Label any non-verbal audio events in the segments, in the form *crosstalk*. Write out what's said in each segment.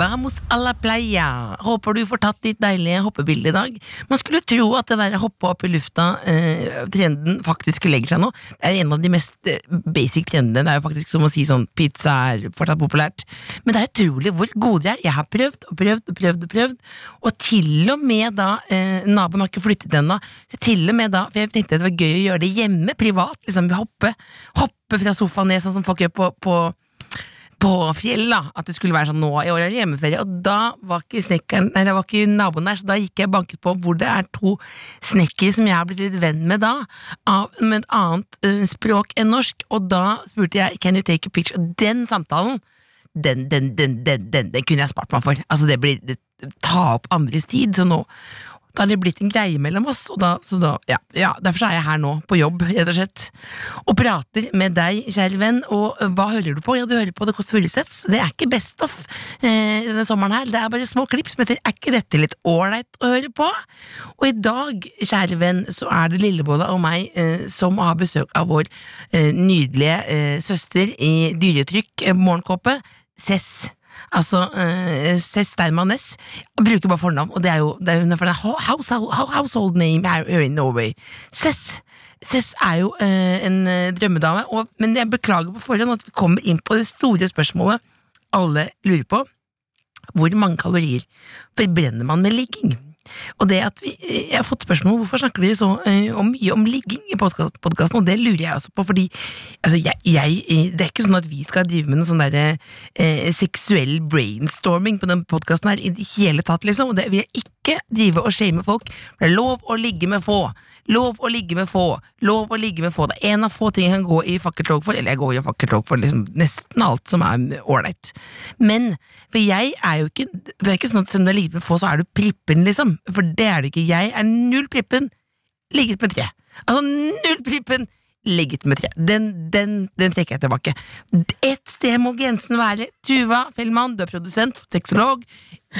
Vamos a la playa. Håper du får tatt ditt deilige hoppebilde i dag. Man skulle tro at det der hoppe opp i lufta-trenden faktisk legger seg nå. Det er en av de mest eh, basic trendene. Det er jo faktisk som å si sånn pizza er fortsatt populært. Men det er utrolig hvor gode de er. Jeg har prøvd og prøvd og prøvd. Og prøvd Og til og med da eh, Naboen har ikke flyttet ennå. Så Til og med da, for jeg tenkte det var gøy å gjøre det hjemme, privat. Liksom hoppe, hoppe fra sofaen ned, sånn som folk gjør på, på på fjell da, at det skulle være sånn nå i år er det hjemmeferie, og da var ikke snekkeren, nei det var ikke naboen der, så da gikk jeg og banket på hvor det er to snekkere som jeg har blitt litt venn med da, av, med et annet eh, språk enn norsk, og da spurte jeg can you take a picture, og den samtalen, den, den, den, den, den, den kunne jeg spart meg for, altså det blir, det, ta opp andres tid, så nå, da har det blitt en greie mellom oss, og da, så da, ja, ja, derfor så er jeg her nå, på jobb, rett og slett, og prater med deg, kjære venn, og eh, hva hører du på? Ja, du hører på Det Kåss Furuseths, det er ikke best of eh, denne sommeren her, det er bare små klipp som heter Er ikke dette litt ålreit å høre på? Og i dag, kjære venn, så er det Lillebolla og meg eh, som har besøk av vår eh, nydelige eh, søster i dyretrykk, eh, morgenkåpe, Cess. Altså eh, Cess Steinmann Næss. Jeg Bruker bare fornavn, og det er jo det er, jo- for det er ho- household, ho- household name her her in Norway. Cess. Cess er jo eh, en eh, drømmedame, og, men jeg beklager på forhånd at vi kommer inn på det store spørsmålet alle lurer på. Hvor mange kalorier forbrenner man med ligging? Og det at vi, Jeg har fått spørsmål om hvorfor snakker dere så eh, om mye om ligging i podkasten, og det lurer jeg også på, fordi altså, jeg, jeg, det er ikke sånn at vi skal drive med noe sånn derre eh, seksuell brainstorming på den podkasten her i det hele tatt, liksom. Og det vil jeg ikke drive og shame folk. For det er lov å ligge med få. Lov å ligge med få. Lov å ligge med få. Det er en av få ting jeg kan gå i fakkeltog for, eller jeg går i fakkeltog for liksom nesten alt som er ålreit. Men for jeg er jo ikke Det er ikke sånn at selv om du er ligget med få, så er du prippen, liksom. For det er du ikke. Jeg er null prippen, ligget med tre. Altså null prippen, ligget med tre. Den, den, den trekker jeg tilbake. Ett sted må grensen være. Tuva Fellmann, du er produsent, sexolog.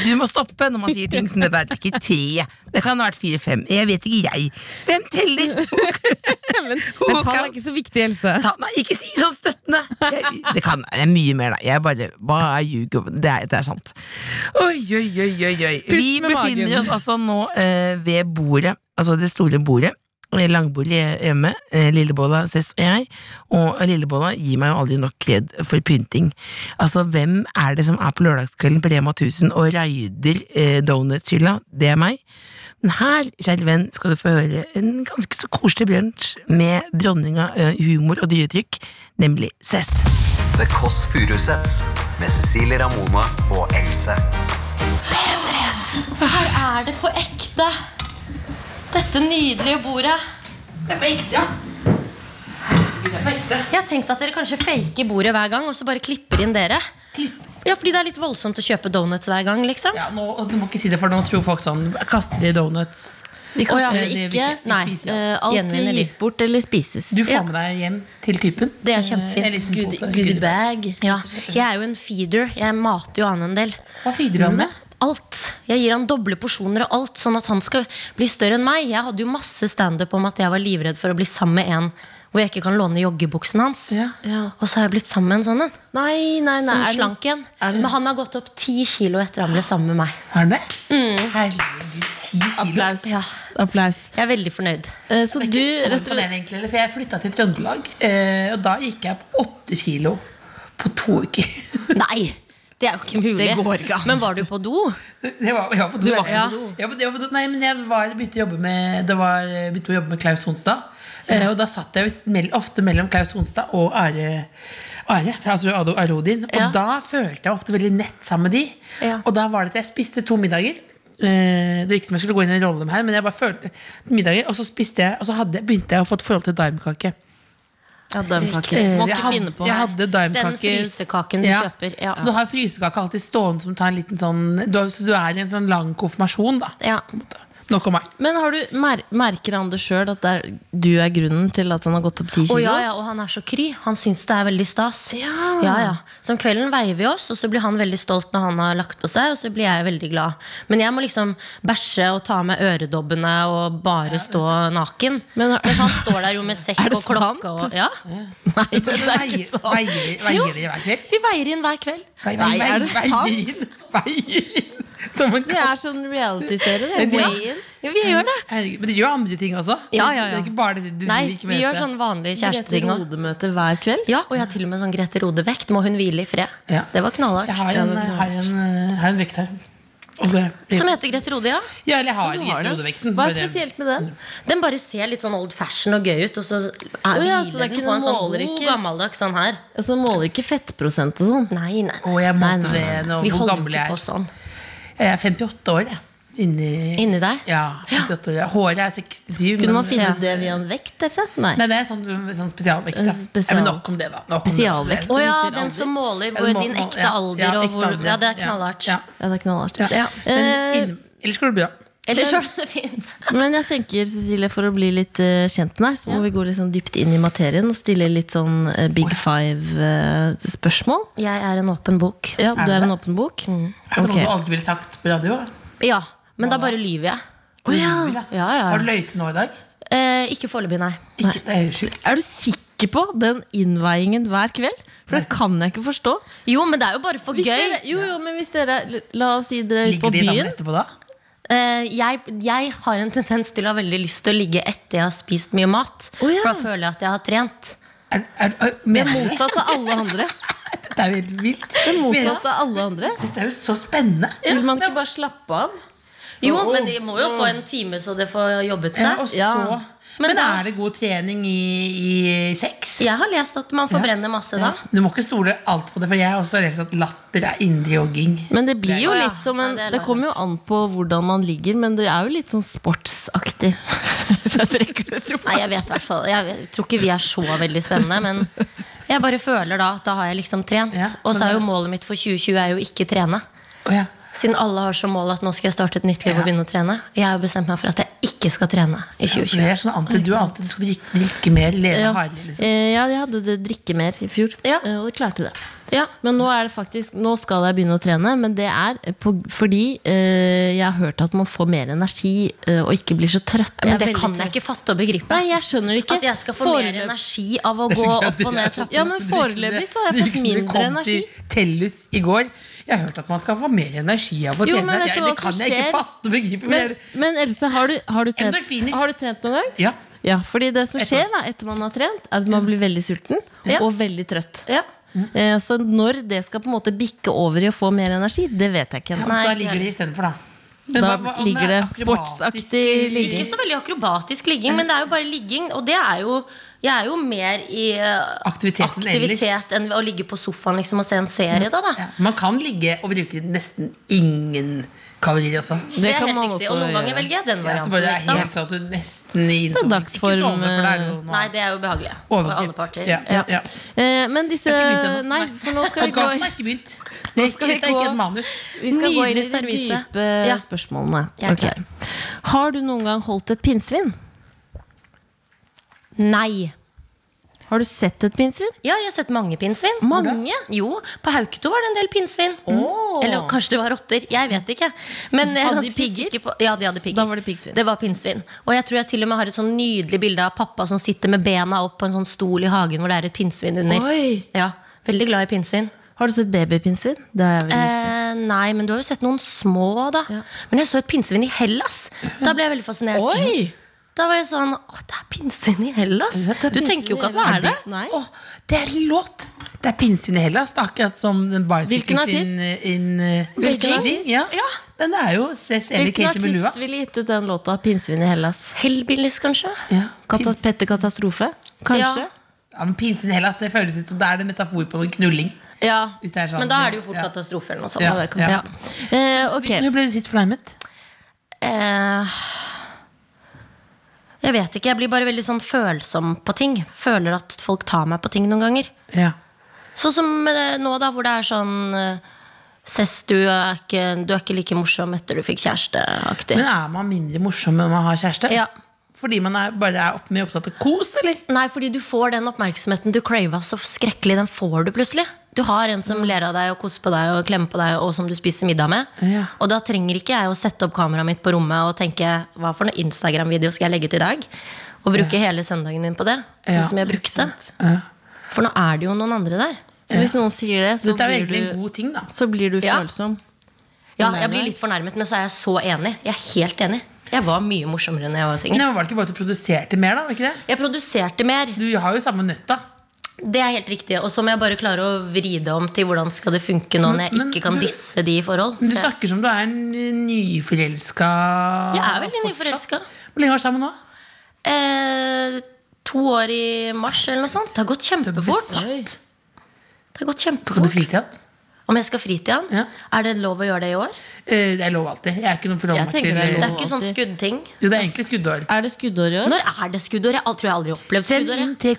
Du må stoppe når man sier ting som det der. Det er ikke tre. Det kan ha vært fire-fem. Jeg vet ikke, jeg. Hvem teller? *laughs* Men, Who men tall er ikke counts? så viktig, Else. Ta, nei, ikke si sånn støttende! Jeg, det kan det er mye mer, da. Jeg bare hva er ljuger det, er- det er sant. Oi, oi, oi, oi, oi. Vi Pust med befinner magen. oss altså nå eh, ved bordet, altså det store bordet. eh, Langbordet hjemme. eh, Lillebolla, Cess og jeg. Og Lillebolla gir meg jo aldri nok kred for pynting. Altså, hvem er det som er på lørdagskvelden på Rema 1000 og raider eh, donutshylla? Det er meg. Men her, kjære venn, skal du få høre en ganske så koselig brunsj med dronninga eh, humor og dyretrykk, nemlig Cess. The Kåss Furuseths med Cecilie Ramona og Else. Her er det på ekte. Dette nydelige bordet. Det er på ekte, ja. Det er på ekte. Jeg har tenkt at dere kanskje faker bordet hver gang, og så bare klipper inn dere. Ja, fordi det er litt voldsomt å kjøpe donuts hver gang, liksom. Ja, nå, og du må ikke si det, for nå tror folk sånn Kaster de donuts? Vi Og ja, kaster ikke- det vi ikke vi nei, spiser. Eh, alt. Alt Gjenvinner de. gis bort eller spises. Du får med deg hjem til typen. Det er Eh, En liten kjempefint. pose. Goodie bag. Ja, jeg er jo en feeder. Jeg mater jo han en del. Hva feeder du han Mm. med? Alt. Jeg gir han doble porsjoner av alt, sånn at han skal bli større enn meg. Jeg hadde jo masse standup om at jeg var livredd for å bli sammen med en hvor jeg ikke kan låne joggebuksen hans. Ja. Ja. Og så har jeg blitt sammen med en sånn en. Nei, nei, nei. Som er det- slank igjen. Men han har gått opp ti kilo etter han ble sammen med meg. Er han det? Mm. Herregud, ti kilo. Applaus. Ja. Applaus. Jeg er veldig fornøyd. Eh, Så Det er du ikke så rett og slett imponerende, egentlig. eller? For jeg flytta til Trøndelag, eh, og da gikk jeg på åtte kilo på to uker. Nei, det er jo ikke mulig. Det går ikke an. Men var du på do? Det var, jeg var på do. var jeg, på do. jeg var på- jeg var på do. Nei, men jeg var, begynte, å jobbe med, det var, jeg begynte å jobbe med Klaus Honstad. Eh, og da satt jeg visst mell- ofte mellom Klaus Honstad og Are, Are altså Ado Arodin. Og Ja. da følte jeg ofte veldig nett sammen med de. Ja. Og da var det at jeg spiste to middager. Eh, Det virket som jeg skulle gå inn i en rolle her, men jeg bare følte middager. Og så, spiste jeg, og så hadde, jeg- begynte jeg å få et forhold til daimkake. Ja, daimkake. Eh, Må jeg ikke hadde- finne på Jeg her. hadde Den daimkake frysekaken du kjøper, ja. Så du har frysekaker alltid stående som tar en liten sånn du, har- Så du er i en sånn lang konfirmasjon, da. Ja. på en måte. Nok om meg. Men har du, mer, merker han det sjøl at det er, du er grunnen til at han har gått opp 10 kilo? Å, ja, ja, og han er så kry. Han syns det er veldig stas. Ja. Ja, ja. Så om kvelden veier vi oss, og så blir han veldig stolt når han har lagt på seg. Og så blir jeg veldig glad. Men jeg må liksom bæsje og ta av meg øredobbene og bare stå naken. Men- Mens han står der jo med sekk *laughs* Er det og klokke sant? og Ja. *laughs* Nei, det er ikke Veier, sånn. veier, veier i hver kveld. Vi veier inn hver kveld. Veier, Nei, er veier, det veier, veier inn. Som en Det katt. er sånn reality-serie. det. Ja. Weigh-ins. Ja, vi gjør det. Herregud, Men dere gjør andre ting også? Ja, ja, ja. Det er ikke bare det du Nei, ikke vi vet gjør det. sånn vanlige Grete kjæresteting òg. Rode-møte hver kveld. Ja, og jeg har til og med sånn Grete Rode-vekt. Må hun hvile i fred? Ja. Det var knallhardt. Jeg har en, Ja, det er har en, eh, har en vekt her. Og så- Som heter Grete Rode, ja. ja, eller jeg har Du ikke har det. hodevekten. Hva er bare- spesielt med den? Den bare ser litt sånn old fashion og gøy ut, og så er Å ja, så hviler det er den ikke på en noen sånn god målerikke. gammeldags sånn her. Altså, måler ikke fettprosent og sånn. Nei, nei. Å, jeg Nei, måtte nei, det nei, nei. nå, Vi hvor holder gammel ikke jeg på er. sånn. Jeg er 58 år, jeg. Inni, Inni deg? Ja, 58 år. Håret er 67. Kunne men- man finne Ja. det via en vekt? Der, sett? Nei. Nei, det er sånn, sånn spesialvekt. Ja. En spesial- ja, men nok om det, da. Nok om det. Å Spesialvekt. Som ja, viser den alder. som måler Ja, hvor du må- din må- ekte ja, alder ja, og ekte hvor alder, Ja, det er ja. knallhardt. Ja, Ja, det er knallhardt. ja. Men Eh, inn- ellers går det bra. Eller så er det fint. Men jeg tenker, Cecilie, for å bli litt eh, kjent med deg, så må vi gå litt sånn dypt inn i materien og stille litt sånn eh, big five-spørsmål. Jeg er en åpen bok. ja, du er det? en åpen bok. Er det Ok. noe du aldri ville sagt på radio? da? Ja, men da bare lyver jeg. Å ja. Ja, ja. Har du løyet nå i dag? Eh, ikke foreløpig, nei. Ikke, det er jo sjukt. Er du sikker på den innveiingen hver kveld? For det kan jeg ikke forstå. Jo, men det er jo bare for Hvis gøy. dere, jo, jo, men hvis dere, La oss si dere er ute Ligger på de sammen byen. etterpå da? Eh, jeg, jeg har en tendens til å ha veldig lyst til å ligge etter jeg har spist mye mat. Å ja. For da føler jeg at jeg har trent. Er, er, er, men, Motsatt av alle andre. dette er jo helt vilt. Det er Men- motsatt av alle andre. Dette er jo så spennende. Vil man ikke bare slappe av? Jo, men de må jo få en time så det får jobbet Ja, seg. og så, Ja. Men, Men da- er det god trening i, i sex? Jeg har lest at man forbrenner masse da. Du må ikke stole alt på det, for jeg har også lest at latter er indre jogging. Men det blir jo Å ja. litt som en Ja, det er lov. Det kommer jo an på hvordan man ligger, men det er jo litt sånn sportsaktig. *laughs* Jeg trekker Nei, det tilbake. jeg vet hvertfall Jeg vet- tror ikke vi er så veldig spennende, men jeg bare føler da at da har jeg liksom trent. Ja, og så men er jo det- målet mitt for 2020 er jo ikke trene. Å ja. Siden alle har som mål at nå skal jeg starte et nytt liv og begynne å trene. Jeg har jo bestemt meg for at jeg ikke skal trene i For 2020. det er sånn anti, du er alltid du skal drikke, drikke mer, leve Ja. hardere. Liksom. Eh, ja, jeg hadde det drikke mer i fjor, Ja. eh, og det klarte det. Ja. Men nå er det faktisk Nå skal jeg begynne å trene, men det er på, fordi eh, jeg har hørt at man får mer energi eh, og ikke blir så trøtt. Men er det veldig kan jeg trøtt. ikke fatte og begripe. Nei, jeg skjønner det ikke. At jeg skal få mer Foreløpig- energi av å *laughs* Det er gå så gøy at opp og det ned er sånn- trappa. Ja, men Det er ikke sånn- foreløpig så har jeg det er fått ikke sånn det mindre kom energi. Til Tellus i går. Jeg hørte at man skal få mer energi av å Jo, trene. men vet Jeg- du det hva kan som jeg ikke skjer? fatte og begripe. Men, Men, jeg- men Else, har du, har, du trent, Endorfiner. har du trent noen gang? ja. Ja, fordi det som skjer da, etter man har trent, er at man blir veldig sulten Ja. og veldig trøtt. Ja. Eh, Så når det skal på en måte bikke over i å få mer energi, det vet jeg ikke Ja, ennå. men så Nei, da ligger det istedenfor, da. Men Da hva- hva- om ligger er det akrobatisk sportsaktig Ikke ligging. så veldig akrobatisk ligging, men det er jo bare ligging. Og det er jo Jeg er jo mer i eh, Aktivitet enn ellers. Mm. aktivitet enn å ligge på sofaen liksom og se en serie, da. da. Ja, man kan ligge og bruke nesten ingen kalorier, altså. Det, Det er kan helt man riktig. også Og noen ganger gjøre. velger jeg den Ja, varianten. så bare det er liksom. helt sånn at du nesten i er innsovning- dagsform, Ikke sovne, for da er det jo noe Nei, det er jo behagelig. For overgrep. alle parter. Ja, ja, ja. Eh, Men disse Jeg har ikke begynt ennå. Nei, for nå skal vi gå Podcasten er ikke begynt. Nå skal vi Dette er gå- ikke et manus. vi skal gå inn i Nydelig de servise. dype Ja. spørsmålene. Jeg er Ok. Har du noen gang holdt et pinnsvin? Nei. Har du sett et pinnsvin? Ja, jeg har sett mange pinnsvin. Mange? Jo, på Hauketo var det en del pinnsvin. Åh. Eller kanskje det var rotter. Jeg vet ikke. Men jeg er Hadde de ganske pigger? sikker På, ja, de hadde pigger. Da var det piggsvin. Det var pinnsvin. Og jeg tror jeg til og med har et sånn nydelig bilde av pappa som sitter med bena opp på en sånn stol i hagen hvor det er et pinnsvin under. Oi. Ja, Veldig glad i pinnsvin. Har du sett babypinnsvin? Det har jeg vel lyst til. Eh, nei, men du har jo sett noen små, da. Ja. Men jeg så et pinnsvin i Hellas. Da ble jeg veldig fascinert. Oi! Da var jeg sånn Å, det er pinnsvin i Hellas! Ja, det er Du pinnsvin tenker jo ikke at det i er det. Hellas. Nei. Åh, det er en låt! Det er pinnsvin i Hellas. Det er akkurat som den Hvilken Bicycles artist? in, in uh, Hvilken Beijing. artist? Ja. Ja. Den er jo CSL i Hvilken Katie Melua. artist ville gitt ut den låta 'Pinnsvin i Hellas'? Hellbillies, kanskje? Ja. Katas Pins- Petter Katastrofe? Kanskje? ja, men pinnsvin i Hellas, det føles ut som det er en metafor på noen knulling. Ja, Hvis det er sånn, Men da er det jo fort ja. katastrofe eller noe sånt. Ja, da. det kan- Ja. Eh, ok. Nå ble du sist fornærmet. Eh, jeg vet ikke. Jeg blir bare veldig sånn følsom på ting. Føler at folk tar meg på ting noen ganger. Ja. Sånn som eh, nå, da, hvor det er sånn eh, Sess, du er ikke, du er ikke like morsom etter du fikk kjæreste-aktig. Men er man mindre morsom når man har kjæreste? Ja. Fordi man er, bare er opp, mye opptatt av kos, eller? Nei, fordi du får den oppmerksomheten du crava så skrekkelig, den får du plutselig. Du har en Mm. som ler av deg og koser på deg og klemmer på deg, og som du spiser middag med. Ja. Og da trenger ikke jeg å sette opp kameraet mitt på rommet og tenke hva for noe Instagram-video skal jeg legge til i dag? Og bruke hele søndagen min på det. Sånn Ja, som jeg brukte. For nå er det jo noen andre der. Så hvis noen sier det, så Dette er jo blir egentlig en du, god ting, da. så blir du Ja. følsom. Ja, jeg blir litt fornærmet, men så er jeg så enig. Jeg er helt enig. Jeg var mye morsommere enn jeg var singel. Nei, men var det ikke bare at du produserte mer, da? Var det ikke det? Jeg produserte mer. Du har jo samme nøtta. Det er helt riktig. Og så må jeg bare klare å vri det om til hvordan skal det funke nå når jeg men ikke kan du- disse de i forhold. Men du For jeg- snakker som du er en nyforelska Jeg er veldig fortsatt. nyforelska. Hvor lenge har du vært sammen nå? eh, to år i mars eller noe sånt. Det har gått Du er kjempefort. besatt. Det har gått Skal du kjempefort. fritid? Om jeg skal fri til han? Ja. Er det lov å gjøre det i år? Eh, Det er lov alltid. Jeg er ikke noen Jeg forhold til eh, tenker det er Det lov. er ikke sånn skuddting. Jo, det er egentlig skuddår. Er det skuddår i år? Når er det skuddår? Jeg tror jeg aldri har opplevd Send skuddår. inn jeg.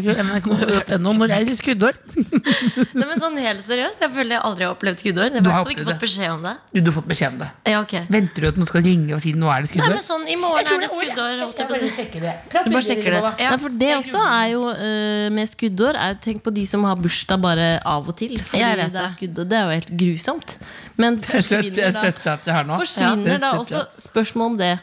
tkf.nrk.no når er det skuddår. Nei, men sånn helt seriøst, Jeg føler jeg aldri har opplevd skuddår. Jeg har i Du har hvert fall ikke opplevd fått beskjed om det. Jo, Du har fått beskjed om det. Ja, ok. Venter du at noen skal ringe og si nå er det Nei, skuddår? men sånn, I morgen er det skuddår. holdt jeg på å si. Du bare sjekker det. Ja. Nei, for det også er jo eh, med skuddår. Er, tenk på de som har bursdag bare av og til. Fordi Jeg vet det. er det. skuddår. Det er jo helt grusomt. *laughs* Men Det er søtt- det forsvinner er da, søtt at jeg har nå. Ja, det forsvinner er da søtt også at- spørsmål om det.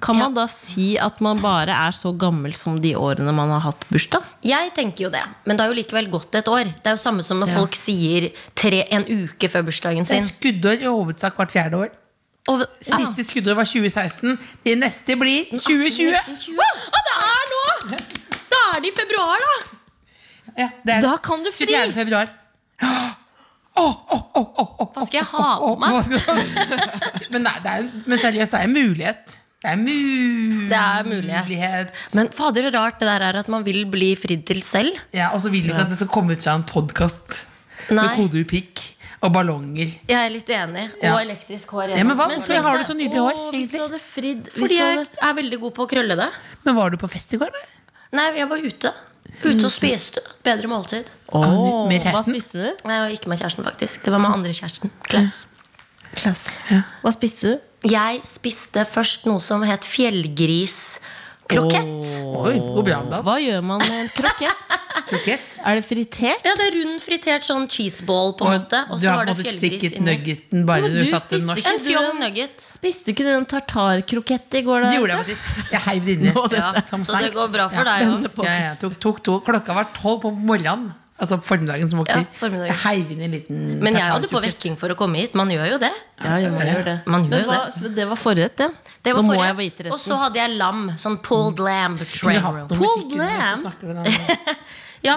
Kan man da si at man bare er så gammel som de årene man har hatt bursdag? Jeg tenker jo det, men det har jo likevel gått et år. Det er jo samme som når folk sier tre, en uke før bursdagen Det er sin. skuddår i hovedsak hvert fjerde år. Og, ah, Siste skuddår var 2016. Det neste blir 2020. 1920. Å, Ah, det er nå! Da er det i februar, da! Ja, det er Da det. kan du fri! 24. februar. Åh, åh, åh, åh, åh, Hva skal jeg åh, ha på åh, meg? hva skal du- *laughs* men, nei, det er, en- men seriøst, det er en mulighet. Det er en mulighet. Det er mulighet. Men fader, så rart det der er at man vil bli fridd til selv. Ja, og så vil du ikke at det skal komme ut fra en podkast med Nei. kodeupikk og ballonger. Jeg er litt enig. Ja. Og elektrisk hår. Ja, men hva? gjennom. Hvorfor har du sånn- så nydelig hår? Å, hvis du egentlig? hadde fridd hvis Fordi du jeg hadde- er veldig god på å krølle det. Men var du på fest i går? da? Nei, jeg var ute. Ute og spiste. Bedre måltid. Å, med Hva kjæresten? spiste du? Nei, jeg var ikke med kjæresten, faktisk. Det var med andre kjæresten. Klaus. Hva spiste du? Jeg spiste først noe som het fjellgriskrokett. Oi, hvor bra om dagen. Hva gjør man med en krokett? Krokett. er det *laughs* fritert? Ja, det er rund fritert sånn cheeseball på en Og måte. Og du så har var det på en måte fjellgris stikket inni. nuggeten bare Men du du satte en spiste norsk. ikke- En fjong nugget. Spiste ikke du en tartarkrokett i går? da? Det gjorde jeg faktisk. Jeg heiv *laughs* det inni. Ja, så det går bra for deg òg. Ja, ja, tok, tok to. Klokka var tolv på morgenen. Altså formiddagen, som Ja, vokser. formiddagen. jeg heiv inn en liten Men jeg hadde på tartarkrokett. vekking for å komme hit. Man gjør jo det. Ja, ja, man gjør det. Man gjør Men jo hva, så det var forrett, det. Det var Nå må jeg forrett. vite resten. Mm. Og så hadde jeg lam. Sånn pulled lamb Kunne train hatt noe roll. musikk inni, så Problem. snakker vi den andre. Ja,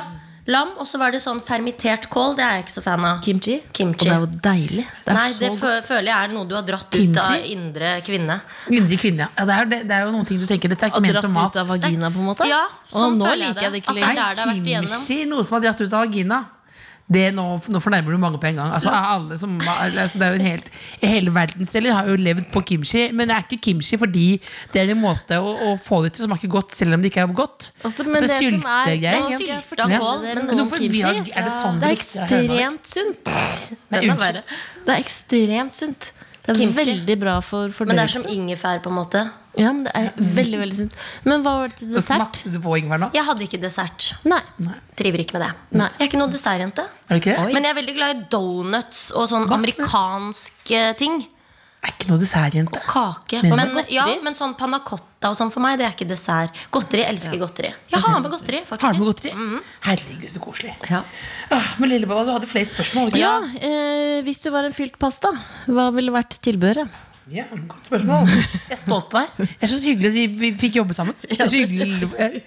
lam, og så var det sånn fermitert kål. Det er jeg ikke så fan av. Kimchi. Kimchi. Og det er jo deilig. Det er Nei, så det godt. fø føler jeg er noe du har dratt ut Kimchi? av indre kvinne. Yndig kvinne, ja. ja. Det er, jo det, det er jo noen ting du tenker Dette er Og ikke ment dratt som mat. ut av vagina, på en måte. Ja, sånn og nå føler jeg liker jeg det ikke At lenger. det er der det har vært igjennom. kimchi, noe som har dratt ut av vagina. Det, nå, nå fornærmer du mange på en gang. Altså, alle som, altså, det er jo en helt, hele verdensdeler har jo levd på kimchi, men det er ikke kimchi fordi det er en måte å, å få det til som er ikke godt, selv om det ikke er godt. Også, men At det som er- syltegreier, det er ja. sylta Ja. kål, men Men noen hvorfor vi har- Er det sånn Det er riktig er hjemme? ekstremt sunt. Den er unnskyld. verre. Det er ekstremt sunt. Det er Kimchi. veldig bra for Men det er som fordøyelsen. ingefær, på en måte. Ja, men det er veldig, veldig sunt. Men hva var det til Så dessert? Smakte du på ingefær nå? Jeg hadde ikke dessert. Nei. Driver ikke med det. Nei. Jeg er ikke noen dessertjente. Er det ikke det? Men jeg er veldig glad i donuts og sånn amerikanske ting. Det er ikke noe dessertjente. Kake. Men- Men, ja, men sånn panna cotta og sånn for meg, det er ikke dessert. Godteri. Jeg elsker godteri. Jeg har med godteri, faktisk. Har du med godteri? Herregud, så koselig. Ja. Ah, men Lillebolla, du hadde flere spørsmål. ikke? Ja, eh, hvis du var en fylt pasta, hva ville vært tilbehøret? Ja, godt spørsmål. Jeg er stolt på deg. Jeg synes Det er så hyggelig at vi, vi fikk jobbe sammen. Det er så hyggelig.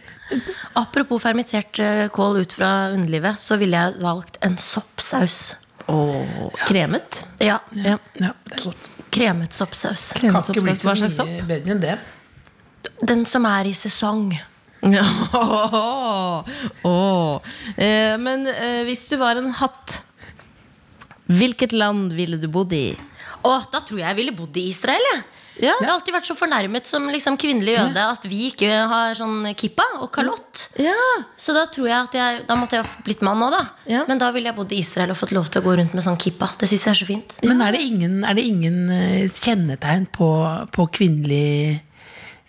Apropos fermitert eh, kål ut fra underlivet, så ville jeg valgt en soppsaus. Åh, kremet? Ja. Ja. Ja, det er godt. Kremet soppsaus. Kan ikke bli så Hva slags sopp? mye bedre enn det. Den som er i sesong. Åh, åh. Eh, men eh, hvis du var en hatt, hvilket land ville du bodd i? Å, da tror jeg jeg ville bodd i Israel, jeg. Ja. Jeg har alltid vært så fornærmet som liksom kvinnelig jøde at vi ikke har sånn kippa og kalott. Ja. Så da tror jeg at jeg Da måtte jeg ha blitt mann òg, da. Ja. Men da ville jeg bodd i Israel og fått lov til å gå rundt med sånn kippa. Det syns jeg er så fint. Men er det ingen, er det ingen eh, kjennetegn på, på kvinnelig,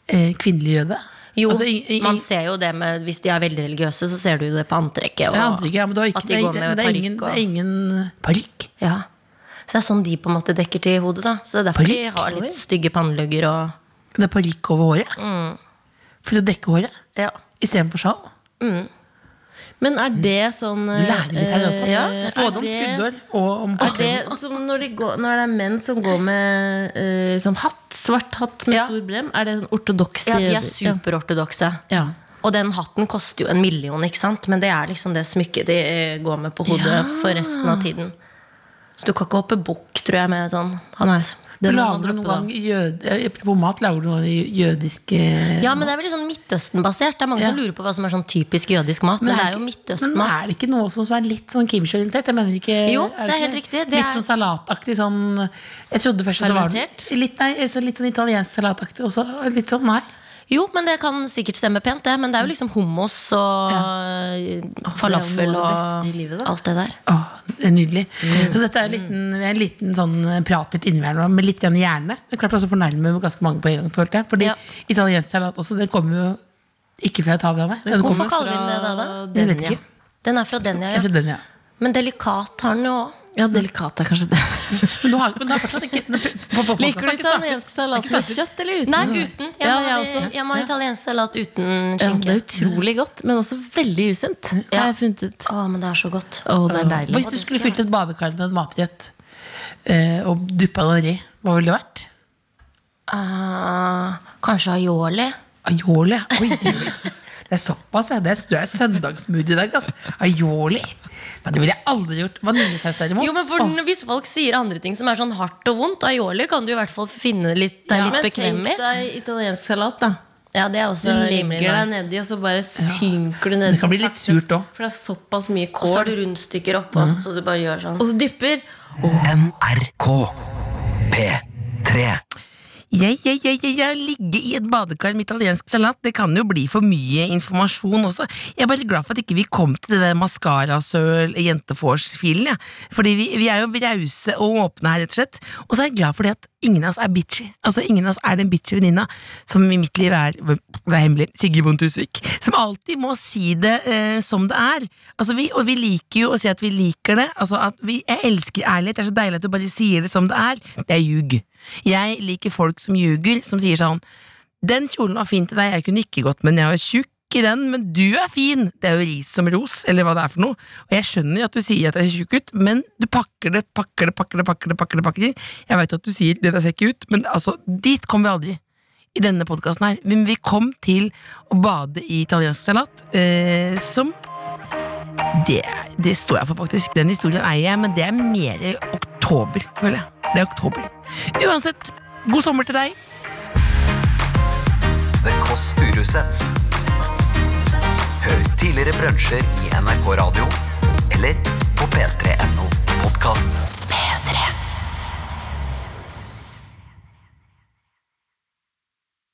eh, kvinnelig jøde? Jo, Altså, ing- ing- man ser jo det med Hvis de er veldig religiøse, så ser du jo det på antrekket. Og ja, antrekk, ja, men det, var ikke, at de går det, er- med det, er ingen, parykk det er og ingen Parykk? ja. Så det er sånn de på en måte dekker til hodet, da. Så det er derfor Parykk? de har litt stygge pannelugger og Det er parykk over håret? Mm. For å dekke håret? Ja. Istedenfor sjal? Men er det sånn eh, Lære litt her også. eh, ja, er Både om det- skuddår og om Er det som når, de går, når det er menn som går med eh, liksom hatt, svart hatt med Ja. stor brem, er det sånn ortodoks ja, de er Ja. superortodokse. Ja. Og den hatten koster jo en million, ikke sant? men det er liksom det smykket de eh, går med på hodet for resten av tiden. Så du kan ikke hoppe bukk, tror jeg, med sånn Nei. hatt. Det må man Lager du noen droppe, da. gang jøde, eh, Apropos mat, lager du noen gang jødiske Ja, men det er veldig sånn Midtøsten-basert. Det er mange Ja. som lurer på hva som er sånn typisk jødisk mat. Men, det er jo ikke- men Midtøsten-mat. er det ikke noe også som er litt sånn kimchi-orientert? Jeg mener ikke- Jo, er det er ikke helt riktig. Det litt er- sånn salataktig sånn Jeg trodde først at det var Fermentert? litt, nei, så litt sånn italiensk salataktig også. og Litt sånn, nei. Jo, men det kan sikkert stemme pent, det. Men det er jo liksom hummus og eh, falafel Det er jo noe av og det beste i livet, da. alt det der. Åh, det er nydelig. Mm. Så dette er en liten, vi er en liten sånn prater innimellom med litt grann hjerne. Men klart også fornærmer ganske mange på en gang, følte jeg. Fordi Ja. italiensk salat også, den kommer jo ikke fra Italia, nei. Den Hvorfor kommer kaller vi den det da? da? Jeg vet ikke. Den er fra Denia, Jeg tror ja. den, ja. Men delikat har den jo òg. Ja, delikat er kanskje det. Men nå har, men nå har fortsatt ikke på, på, på, Liker du italiensk salat med kjøtt eller uten? Nei, uten. Jeg, Ja, må, jeg ha- også. jeg må ha italiensk salat uten Ja, det skinke. er utrolig godt, men også veldig usunt, Ja. har jeg funnet ut. Å, men det er så godt. Å, det er deilig. Hvis du skulle fylt et badekar med en matrett eh, og duppa den i, hva ville det vært? Ah, kanskje aioli. Aioli. Oi, det er såpass, ja. Det er, du er søndagsmood i dag, ass. Aioli. Men det ville jeg aldri gjort. Vaniljesaus derimot. Jo, men for, Åh, Hvis folk sier andre ting som er sånn hardt og vondt, aioli kan du i hvert fall finne litt, deg Men litt bekvem i. tenk deg italiensk salat, da. Ja, det er Du også legger rimelig deg nice. nedi, og så bare synker du nedi. Det kan bli litt surt òg. For det er såpass mye Og så har kål. du rundstykker oppå, så du bare gjør sånn. Og så dypper. NRK P3 Jeg, jeg, jeg, jeg, jeg ligge i et badekar med italiensk salat, det kan jo bli for mye informasjon også. Jeg er bare glad for at ikke vi kom til det der maskarasøl-jentefors-filen, ja. Fordi vi, vi er jo rause og åpne her, rett og slett. Og så er jeg glad for det at ingen av oss er bitchy. Altså, ingen av oss er den bitchy venninna som i mitt liv er, det er hemmelig, Sigrid Bonde Tusvik, som alltid må si det eh, som det er. Altså, vi, og vi liker jo å si at vi liker det. Altså, at vi, jeg elsker ærlighet, det er så deilig at du bare sier det som det er. Det er ljug. Jeg liker folk som ljuger, som sier sånn Den kjolen var fin til deg, jeg kunne ikke gått med den, jeg var tjukk i den, men du er fin! Det er jo ris som ros, eller hva det er for noe. Og jeg skjønner jo at du sier at jeg ser tjukk ut, men du pakker det, pakker det, pakker det, pakker det. pakker det, pakker det. Jeg veit at du sier det der ser ikke ut, men altså, dit kom vi aldri. I denne podkasten her. Men vi kom til å bade i italiensk salat, eh, som det, det står jeg for, faktisk. Den historien eier jeg, men det er mer i oktober, føler jeg. Det er oktober. Uansett, god sommer til deg. The Kåss Furuseths. Hør tidligere brunsjer i NRK Radio eller på P3.no.